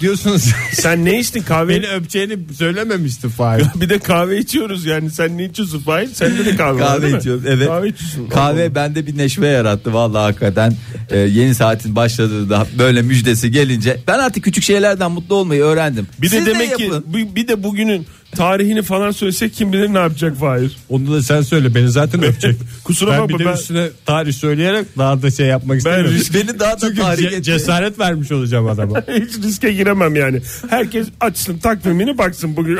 S3: diyorsunuz
S4: Sen ne içtin
S3: beni
S4: kahveyle?
S3: öpeceğini söylememişti Fahir.
S4: Bir de kahve içiyoruz yani. Sen ne içiyorsun Fahir? Sende de kahve, var
S2: Kahve
S4: değil mi?
S2: içiyorum. Evet.
S4: Kahve içiyorsun.
S2: Kahve bende bir neşve yarattı vallahi hakikaten. Ee, yeni saatin başladığı da böyle müjdesi gelince ben artık küçük şeylerden mutlu olmayı öğrendim.
S4: Bir de
S2: Siz
S4: demek ki
S2: yapın.
S4: bir- bir de bugünün tarihini falan söylesek kim bilir ne yapacak Fahir.
S3: Onu da sen söyle beni zaten öpecek.
S4: Kusura
S3: ben
S4: bakma,
S3: bir de
S4: ben-
S3: üstüne tarih söyleyerek daha da şey yapmak istemiyorum.
S4: risk-
S2: beni daha da
S3: Çünkü
S2: tahrik
S3: ce-
S2: etti.
S3: cesaret vermiş olacağım adama.
S4: Hiç riske giremem yani. Herkes açsın takvimini baksın bugün.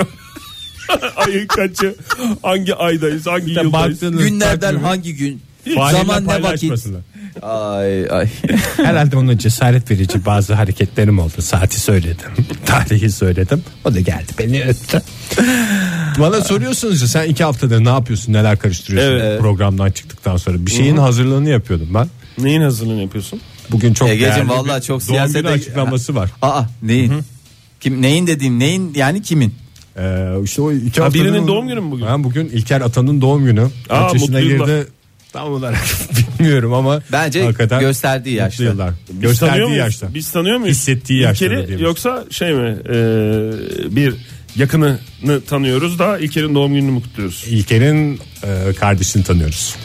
S4: Ayın kaçı? Hangi aydayız? Hangi
S3: İşte
S4: yıldayız?
S3: baktığınız
S2: Günlerden
S3: takvimi
S2: hangi gün?
S3: Fahir'le
S2: Zaman ne vakit?
S3: paylaşmasınlar.
S2: Ay ay.
S3: Herhalde onun cesaret verici bazı hareketlerim oldu. Saati söyledim. Tarihi söyledim. O da geldi beni öptü. Bana soruyorsunuz ya sen iki haftadır ne yapıyorsun neler karıştırıyorsun
S4: Evet.
S3: programdan çıktıktan sonra. Bir şeyin hazırlığını yapıyordum ben.
S4: Neyin hazırlığını yapıyorsun?
S3: Bugün çok
S2: Egeciğim
S3: değerli bir
S2: vallahi çok
S3: doğum günü
S2: siyasete-
S3: açıklaması var.
S2: Aa neyin? Kim neyin dediğim neyin yani kimin?
S3: Ee, işte o iki
S4: Ha, birinin
S3: haftanın-
S4: doğum günü mü bugün?
S3: Ha, bugün İlker Atan'ın doğum günü.
S4: Aa,
S3: Kaç yaşına
S4: mutlu yıllar.
S3: girdi? Tam olarak bilmiyorum ama
S2: Bence
S3: hakikaten
S2: gösterdiği yaşta.
S3: mutlu yıllar.
S4: Biz tanıyor
S3: Gösterdiği
S4: muyuz?
S3: yaşta.
S4: Biz tanıyor muyuz?
S3: Hissettiği
S4: İlker'i
S3: yaşta da diyelim.
S4: Yoksa şey mi? e, bir yakınını tanıyoruz da İlker'in doğum gününü mü kutluyoruz?
S3: İlker'in e, kardeşini tanıyoruz.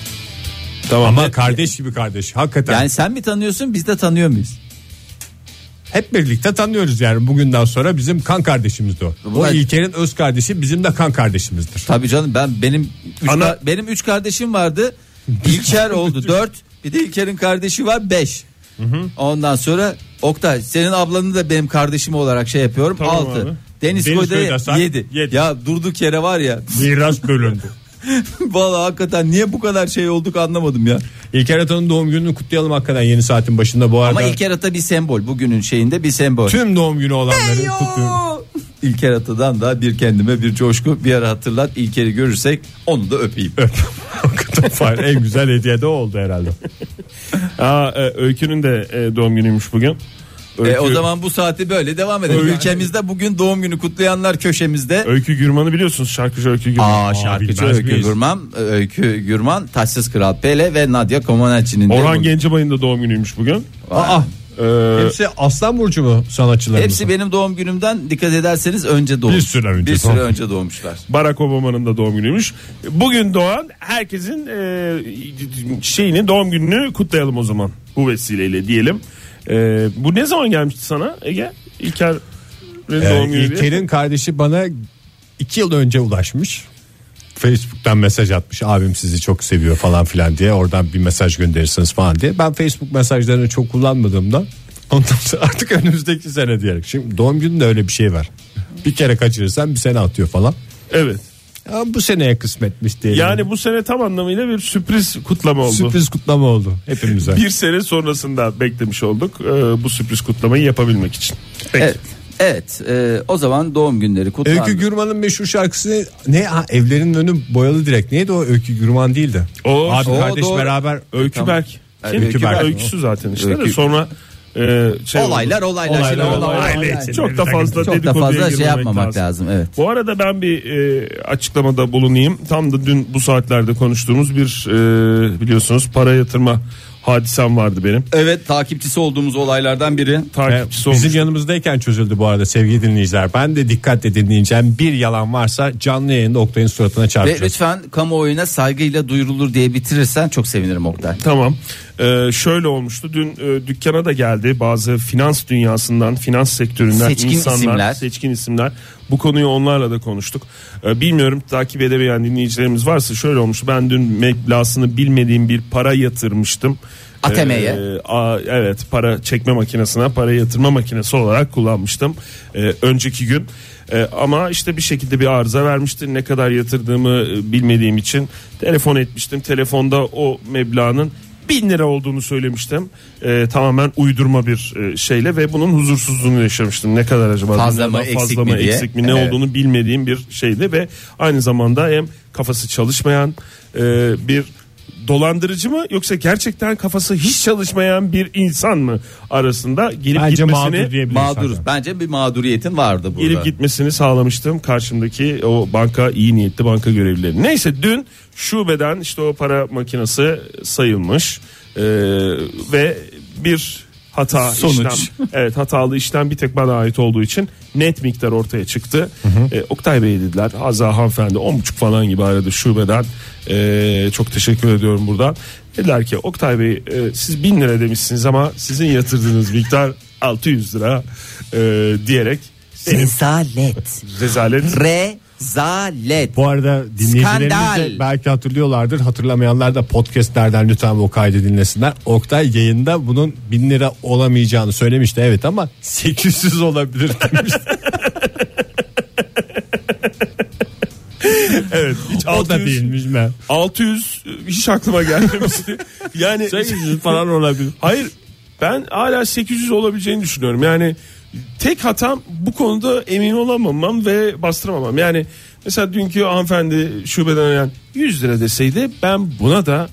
S4: Tamam.
S3: Ama kardeş gibi kardeş. Hakikaten
S2: Yani sen mi tanıyorsun biz de tanıyor muyuz?
S3: hep birlikte tanıyoruz yani bugünden sonra bizim kan kardeşimizdi o. O
S2: Bunlar-
S3: İlker'in öz kardeşi bizim de kan kardeşimizdir.
S2: Tabii canım ben benim üç,
S4: Ana-
S2: ka- benim üç kardeşim vardı. İlker oldu dört. Bir de İlker'in kardeşi var beş. Ondan sonra Oktay senin ablanı da benim kardeşim olarak şey yapıyorum
S4: Tamam
S2: altı.
S4: abi.
S2: Deniz
S3: Deniz
S2: Koyda
S3: Koydasak
S2: yedi.
S3: yedi.
S2: Ya durduk yere var ya.
S3: Miras bölündü.
S2: Vallahi hakikaten niye bu kadar şey olduk anlamadım ya.
S3: İlker Atan'ın doğum gününü kutlayalım hakikaten yeni saatin başında bu arada.
S2: Ama İlker Ata bir sembol. Bugünün şeyinde bir sembol.
S3: Tüm doğum günü olanları kutluyorum.
S2: İlker Ata'dan da bir kendime bir coşku bir ara hatırlat. İlker'i görürsek onu da öpeyim.
S3: Öp. Hakikaten Fahir, en güzel hediye de oldu herhalde.
S4: Aa, e, Öykü'nün de e, doğum günüymüş bugün. Öykü,
S2: E, o zaman bu saati böyle devam edelim.
S4: Öyle.
S2: Ülkemizde bugün doğum günü kutlayanlar köşemizde.
S4: Öykü Gürman'ı biliyorsunuz şarkıcı Öykü Gürman.
S2: Aa şarkıcı
S3: bilmez
S2: Öykü
S3: miyiz?
S2: Gürman, e, Öykü Gürman, Taşsız Kral Pele ve Nadia Comaneci'nin de
S4: Orhan
S2: bu-
S4: Gencebay'ın da doğum günüymüş bugün.
S2: Aa, ah,
S4: Ee,
S3: Hepsi Aslan Burcu mu sanatçılarımız?
S2: hepsi benim doğum günümden dikkat ederseniz önce doğmuş.
S3: Bir süre önce,
S2: Bir süre
S3: tamam.
S2: önce doğmuşlar.
S4: Barack Obama'nın da doğum günüymüş. Bugün doğan herkesin e, şeyini doğum gününü kutlayalım o zaman bu vesileyle diyelim. E, bu ne zaman gelmişti sana Ege? İlker'in
S3: Ee,
S4: doğum günü. diye.
S3: İlker'in kardeşi bana iki yıl önce ulaşmış. Facebook'tan mesaj atmış abim sizi çok seviyor falan filan diye oradan bir mesaj gönderirsiniz falan diye. Ben Facebook mesajlarını çok kullanmadığımda ondan sonra artık önümüzdeki sene diyerek. Şimdi doğum gününde öyle bir şey var. Bir kere kaçırırsan bir sene atıyor falan.
S4: Evet.
S3: Ama bu seneye kısmetmiş diye.
S4: Yani bu sene tam anlamıyla bir sürpriz kutlama oldu.
S3: sürpriz kutlama oldu hepimize.
S4: Bir sene sonrasında beklemiş olduk e, bu sürpriz kutlamayı yapabilmek için. Peki.
S2: Evet. Evet, e, o zaman doğum günleri kutlandı.
S3: Öykü Gürman'ın meşhur şarkısı ne? Ha, evlerin önü boyalı direkt. Neydi o Öykü Gürman değildi.
S4: O-
S3: Abi
S2: o
S3: kardeş
S2: doğru.
S3: beraber
S4: Öykü
S2: Tamam.
S4: Berk.
S2: Evet,
S4: Kim?
S3: Öykü Berk.
S4: Öyküsü zaten işte. de
S2: Öykü-
S4: Sonra e, şey oldu.
S2: olaylar, olaylar,
S3: Olaylar,
S2: şimdi
S3: olaylar,
S2: olaylar.
S3: olaylar.
S4: Çok da fazla
S2: Çok da
S4: dedikoduya
S2: fazla şey
S4: girmemek
S2: yapmamak lazım. Evet.
S4: Bu arada ben bir e, açıklamada bulunayım. Tam da dün bu saatlerde konuştuğumuz bir e, biliyorsunuz para yatırma hadisem vardı benim.
S5: Evet takipçisi olduğumuz olaylardan biri.
S4: Takipçisi olmuş.
S3: Bizim yanımızdayken çözüldü bu arada sevgili dinleyiciler. Ben de dikkatle dinleyeceğim. Bir yalan varsa canlı yayında Oktay'ın suratına
S2: Ve
S3: çarpacağım.
S2: lütfen kamuoyuna saygıyla duyurulur diye bitirirsen çok sevinirim Oktay.
S4: Tamam. Ee, şöyle olmuştu. Dün e, dükkana da geldi bazı finans dünyasından, finans sektöründen
S2: Seçkin
S4: insanlar,
S2: isimler.
S4: seçkin isimler. Bu konuyu onlarla da konuştuk. Ee, bilmiyorum takip edemeyen dinleyicilerimiz varsa şöyle olmuştu. Ben dün meblasını bilmediğim bir para yatırmıştım.
S2: ATM'ye.
S4: Ee, a- evet para çekme makinesine para yatırma makinesi olarak kullanmıştım ee, önceki gün. Ee, ama işte bir şekilde bir arıza vermişti. Ne kadar yatırdığımı e, bilmediğim için telefon etmiştim. Telefonda o meblağın bin lira olduğunu söylemiştim. Ee, tamamen uydurma bir e, şeyle ve bunun huzursuzluğunu yaşamıştım. Ne kadar acaba?
S2: Fazla
S4: Bundan
S2: mı,
S4: daha
S2: eksik
S4: fazla
S2: mi
S4: mı,
S2: diye.
S4: eksik mi ne
S2: Evet.
S4: olduğunu bilmediğim bir şeydi ve aynı zamanda hem kafası çalışmayan e, bir dolandırıcı mı yoksa gerçekten kafası hiç çalışmayan bir insan mı arasında gelip
S3: Bence mağdur
S4: gitmesini
S3: diyebiliriz.
S2: Mağduruz.
S3: zaten.
S2: Bence bir mağduriyetin vardı burada.
S4: gelip gitmesini sağlamıştım karşımdaki o banka iyi niyetli banka görevlileri. Neyse dün şubeden işte o para makinesi sayılmış Ee, ve bir hata
S5: Sonuç.
S4: işlem evet hatalı işlem bir tek bana ait olduğu için net miktar ortaya çıktı. Ee, Oktay Bey dediler Hazza hanımefendi 10.30 falan gibi aradı şubeden Ee, çok teşekkür ediyorum buradan. Dediler ki Oktay Bey e, siz 1000 lira demişsiniz ama sizin yatırdığınız miktar 600 lira e, diyerek benim
S2: Rezalet.
S4: rezalet.
S2: Rezalet.
S3: Bu arada dinleyicilerimiz
S2: Skandal.
S3: de belki hatırlıyorlardır. Hatırlamayanlar da podcastlerden lütfen bu kaydı dinlesinler. Oktay yayında bunun bin lira olamayacağını söylemişti evet ama 800 olabilir demişti.
S4: Evet. Hiç
S3: o da
S4: 600,
S3: bilmiş mi?
S4: 600 e, hiç aklıma gelmemişti. yani
S3: 800 falan olabilir.
S4: hayır ben hala 800 olabileceğini düşünüyorum. Yani tek hatam bu konuda emin olamamam ve bastıramamam. Yani mesela dünkü hanımefendi şubeden arayan 100 lira deseydi ben buna da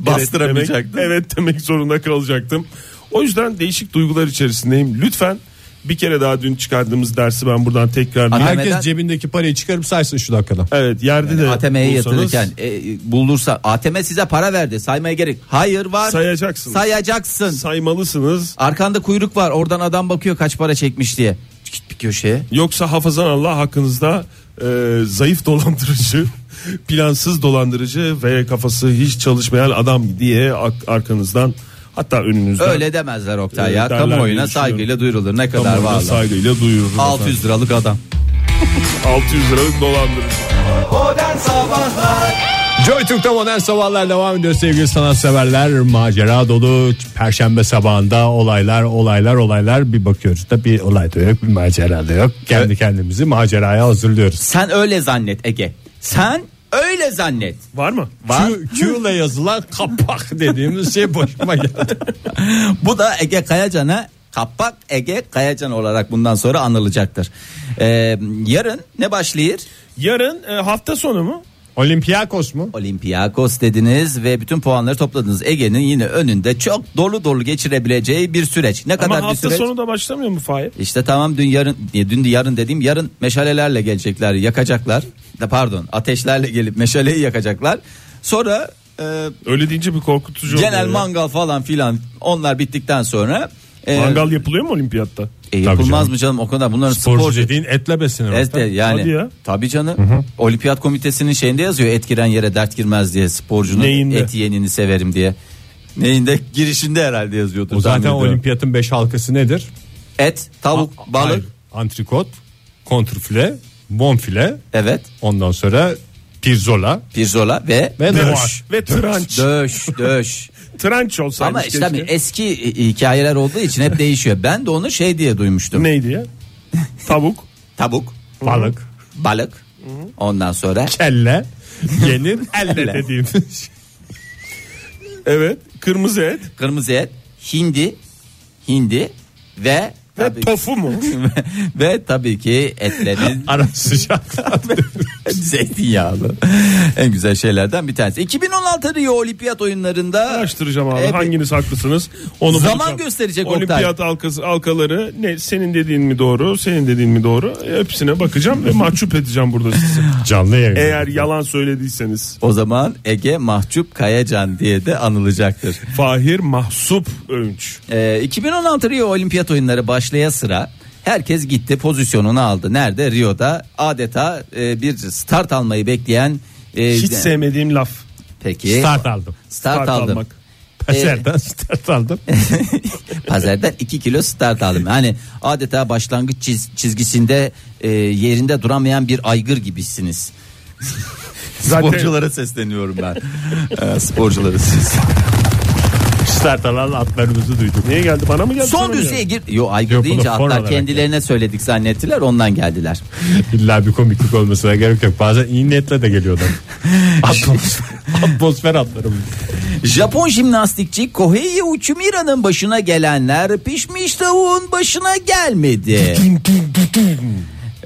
S5: Bastıramayacaktım.
S4: Evet demek, evet demek zorunda kalacaktım. O yüzden değişik duygular içerisindeyim. Lütfen bir kere daha dün çıkardığımız dersi ben buradan tekrar
S2: Ama-
S3: Herkes
S2: Neden?
S3: cebindeki parayı çıkarıp saysın şu dakikada.
S4: Evet yerde de
S2: ATM'ye
S4: bulsanız-
S2: yatırırken e, bulursa ATM size para verdi saymaya gerek. Hayır var.
S4: Sayacaksınız.
S2: Sayacaksın.
S4: saymalısınız.
S2: Arkanda kuyruk var oradan adam bakıyor kaç para çekmiş diye. Git bir köşeye.
S4: Yoksa hafızan Allah hakkınızda e, zayıf dolandırıcı, plansız dolandırıcı ve kafası hiç çalışmayan adam diye ak- arkanızdan hatta önünüzden
S2: Öyle demezler Oktay ya.
S4: Evet, derler diye
S2: Kamuoyuna
S4: düşünüyorum.
S2: saygıyla duyurulur. Ne kadar
S4: kamuoyuna
S2: var.
S4: saygıyla duyurur.
S2: 600 liralık adam.
S4: 600 liralık dolandırıcı.
S3: Joy Türk'te modern sabahlar devam ediyor sevgili sanatseverler. Macera dolu perşembe sabahında olaylar olaylar olaylar bir bakıyoruz da bir olay da yok bir macera da yok. Kendi kendimizi maceraya hazırlıyoruz.
S2: Sen öyle zannet Ege. Sen öyle zannet.
S4: Var mı?
S2: Var.
S3: Q, Q ile yazılan kapak dediğimiz şey boşuma geldi.
S2: Bu da Ege Kayacan'a Kapak Ege Kayacan olarak bundan sonra anılacaktır. Ee, yarın ne başlayır?
S4: Yarın e, hafta sonu mu?
S3: Olympiakos mu?
S2: Olympiakos dediniz ve bütün puanları topladınız. Ege'nin yine önünde çok dolu dolu geçirebileceği bir süreç. Ne
S4: Ama
S2: kadar bir
S4: hafta
S2: süreç?
S4: sonu da başlamıyor mu Fahir?
S2: İşte tamam dün yarın ya dün de yarın dediğim yarın meşalelerle gelecekler yakacaklar. Da pardon ateşlerle gelip meşaleyi yakacaklar. Sonra e,
S4: Öyle deyince bir korkutucu oluyor
S2: genel
S4: ya.
S2: mangal falan filan onlar bittikten sonra e,
S4: Mangal yapılıyor mu olimpiyatta?
S2: e, yapılmaz
S3: canım.
S2: mı canım o kadar bunların
S3: Sporcu,
S2: sporcu
S3: dediğin etle beslenir.
S2: Evet de
S3: orada.
S2: yani
S4: Hadi ya.
S2: tabii canım. Olimpiyat komitesinin şeyinde yazıyor et giren yere dert girmez diye sporcunun
S4: Neyinde?
S2: et yenini severim diye. Neyinde girişinde herhalde yazıyordur.
S3: O zaten
S2: zannediyorum.
S3: olimpiyatın 5 halkası nedir?
S2: Et, tavuk, balık.
S3: Hayır, Antrikot, kontrfile, bonfile,
S2: Evet.
S3: ondan sonra pirzola
S2: Pirzola ve
S3: ve noş.
S4: Döş ve tranç.
S2: döş döş.
S4: Tranç olsaymış
S2: Ama işte hani tabii
S4: keşke.
S2: eski hi- hikayeler olduğu için hep değişiyor. Ben de onu şey diye duymuştum.
S4: Neydi ya?
S2: e-
S4: Tavuk.
S2: Tavuk,
S3: balık,
S2: balık. Ondan sonra
S3: kelle, yenir elle
S2: Elle.
S3: dediğimiz.
S4: Evet. Kırmızı et.
S2: kırmızı et, hindi, hindi ve
S4: Ve
S2: tabii,
S4: tofu mu?
S2: ve tabii ki etlerin
S3: Ara sıcaklar.
S2: Zeytinyağlı. en güzel şeylerden bir tanesi. 2016 Rio Olimpiyat oyunlarında
S4: Araştıracağım abi
S2: Hep-
S4: hanginiz haklısınız. Onu
S2: Zaman
S4: bulacağım.
S2: gösterecek Oktay.
S4: Olimpiyat halkası, halkaları ne senin dediğin mi doğru senin dediğin mi doğru hepsine bakacağım ve mahcup edeceğim burada sizi.
S6: Canlı yayın.
S4: Eğer yalan söylediyseniz.
S2: O zaman Ege Mahcup Kayacan diye de anılacaktır.
S4: Fahir Mahsup Övünç.
S2: Ee, 2016 Rio Olimpiyat Oyunları başlaya sıra herkes gitti pozisyonunu aldı. Nerede? Rio'da adeta e, bir start almayı bekleyen e,
S4: Hiç
S2: de-
S4: sevmediğim laf.
S2: Peki. Start,
S6: Start aldım.
S2: aldım. Ee.
S4: almak.
S6: Pazardan start aldım.
S2: Pazardan 2 kilo start aldım. Hani adeta başlangıç çiz- çizgisinde e, yerinde duramayan bir aygır gibisiniz.
S4: Zaten-
S2: Sporculara sesleniyorum ben. Ee, sporculara sesleniyorum.
S6: start alan atlarımızı duyduk.
S4: Niye geldi bana mı geldi? sana
S2: Son
S4: mı geldi?
S2: düzlüğe gir. Yo aygır
S6: Yok, bu da
S2: deyince
S6: form
S2: hatta
S6: olarak
S2: kendilerine söyledik zannettiler ondan geldiler.
S6: İlla bir komiklik olmasına gerek yok. Bazen iyi niyetle de geliyor adam. Atmosfer, atmosfer atlarım.
S2: Japon jimnastikçi Kohei Uchimura'nın başına gelenler pişmiş tavuğun başına gelmedi.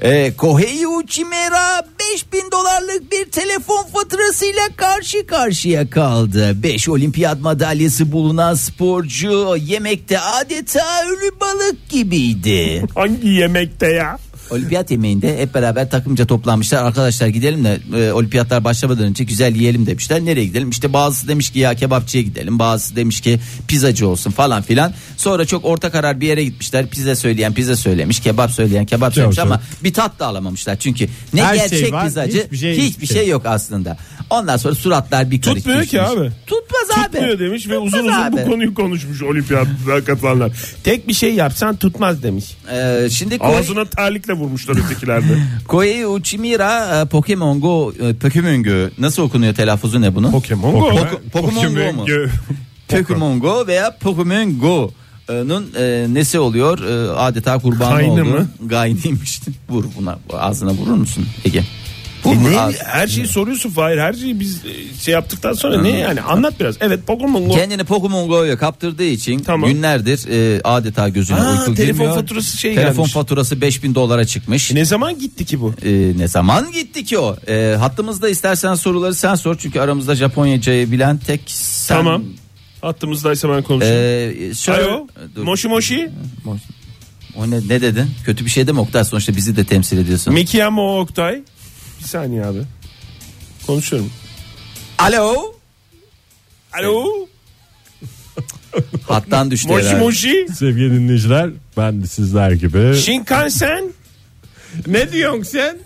S2: Ee, Kohei Uchimura 5000 dolarlık bir telefon faturasıyla karşı karşıya kaldı. 5 olimpiyat madalyası bulunan sporcu yemekte adeta ölü balık gibiydi.
S4: Hangi yemekte ya?
S2: Olimpiyat yemeğinde hep beraber takımca toplanmışlar. Arkadaşlar gidelim de e, olimpiyatlar başlamadan önce güzel yiyelim demişler. Nereye gidelim? İşte bazısı demiş ki ya kebapçıya gidelim. Bazısı demiş ki pizzacı olsun falan filan. Sonra çok orta karar bir yere gitmişler. Pizza söyleyen pizza söylemiş. Kebap söyleyen kebap söylemiş
S6: yok.
S2: ama bir tat da alamamışlar. Çünkü ne
S6: Şey Her şey
S2: gerçek
S6: var,
S2: pizzacı
S6: hiçbir şey-
S2: hiçbir şey yok aslında. Ondan sonra suratlar bir karış
S4: Tutmuyor ki
S2: düşmüş.
S4: abi.
S2: Tutmaz abi.
S4: Tutmuyor demiş ve uzun uzun
S2: Tutmaz abi.
S4: bu konuyu konuşmuş olimpiyatlara katılanlar. Tek bir şey yapsan tutmaz demiş.
S2: Ee, şimdi Koy-
S4: Ağzına terlikle vurmuşlar ötekilerde.
S2: Koei Uchimura e, Pokemon Go e, Pokemon Go nasıl okunuyor telaffuzu ne bunun?
S4: Pokemon Go.
S2: Pok- Pokemon Go mu? Pokemon Go veya Pokemon Go'nun e, nesi oluyor? E, adeta kurban
S4: Kaynı
S2: oldu.
S4: mı?
S2: Gaynıymış. Vur buna ağzına vurur musun Ege? Vur
S4: E
S2: mu?
S4: ne?
S2: Ağz-
S4: her şeyi soruyorsun Fahir. Her şeyi biz e, şey yaptıktan sonra ne yani anlat biraz. Evet Pokemon Go.
S2: Kendini Pokemon Go'ya kaptırdığı için
S4: Tamam.
S2: günlerdir e, adeta gözüne
S4: Ha,
S2: uyku
S4: telefon
S2: girmiyor.
S4: faturası şey
S2: Telefon
S4: gelmiş.
S2: faturası 5000 dolara çıkmış.
S4: Ne zaman gitti ki bu?
S2: E, ne zaman gitti ki o? E, hattımızda istersen soruları sen sor çünkü aramızda Japonca'yı bilen tek sen.
S4: Tamam. Hattımızdaysa ben konuşayım.
S2: E, şöyle-
S4: Alo.
S2: Dur.
S4: Moshi Moshi.
S2: O ne, ne dedin? Kötü bir şey deme Oktay sonuçta bizi de temsil ediyorsun.
S4: Mekiyamo Oktay. Bir saniye abi. Konuşuyorum.
S2: Alo.
S4: Alo.
S2: Hattan düştü
S4: Moshi
S2: herhalde.
S4: Moshi.
S6: Sevgili dinleyiciler ben de sizler gibi.
S4: Shinkansen.
S6: ne diyorsun sen?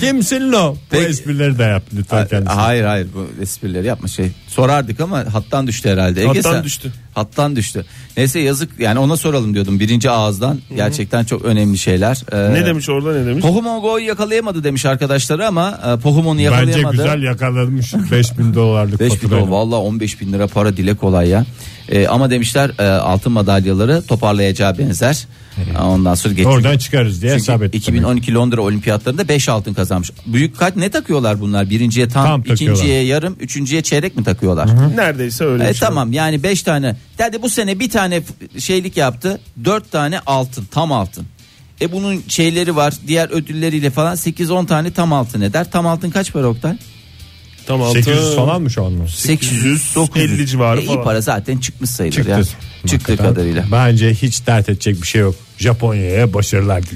S6: Kimsin lo? Bu
S2: Peki.
S6: esprileri de yap lütfen
S2: Ha-
S6: kendisi.
S2: Hayır hayır bu esprileri yapma şey. Sorardık ama hattan düştü herhalde. Ege
S4: Hattan
S2: sen-
S4: düştü.
S2: Hattan düştü. Neyse yazık yani ona soralım diyordum birinci ağızdan. Gerçekten çok önemli şeyler. Ee,
S4: Ne demiş orada ne demiş?
S2: Pokemon Go'yu yakalayamadı demiş arkadaşları ama e, Pokemon'u
S6: Bence
S2: yakalayamadı.
S6: güzel yakalamış 5000 dolarlık
S2: 5 bin
S6: faturayla.
S2: dolar valla 15 bin lira para dile kolay ya. Ee, ama demişler e, altın madalyaları toparlayacağı benzer. Ondan sonra geçti.
S6: Oradan çıkarız diye hesap
S2: Çünkü
S6: ettim.
S2: 2012 Londra olimpiyatlarında 5 altın kazanmış. Büyük kat ne takıyorlar bunlar? Birinciye tam,
S6: Tam takıyorlar.
S2: ikinciye yarım, üçüncüye çeyrek mi takıyorlar?
S4: Neredeyse öyle.
S2: E,
S4: bir şey.
S2: tamam yani 5 tane. Dedi bu sene bir tane f- şeylik yaptı. 4 tane altın, tam altın. E bunun şeyleri var. Diğer ödülleriyle falan 8-10 tane tam altın eder. Tam altın kaç para Oktay?
S4: Tam altı.
S6: 800 falan mı şu an?
S2: 800
S4: 950 civarı
S2: E, iyi
S4: falan.
S2: para zaten çıkmış sayılır
S6: Çıktı.
S2: ya. Çıktığı kadarıyla.
S6: Bence hiç dert edecek bir şey yok. Japonya'ya başarılar diliyorum.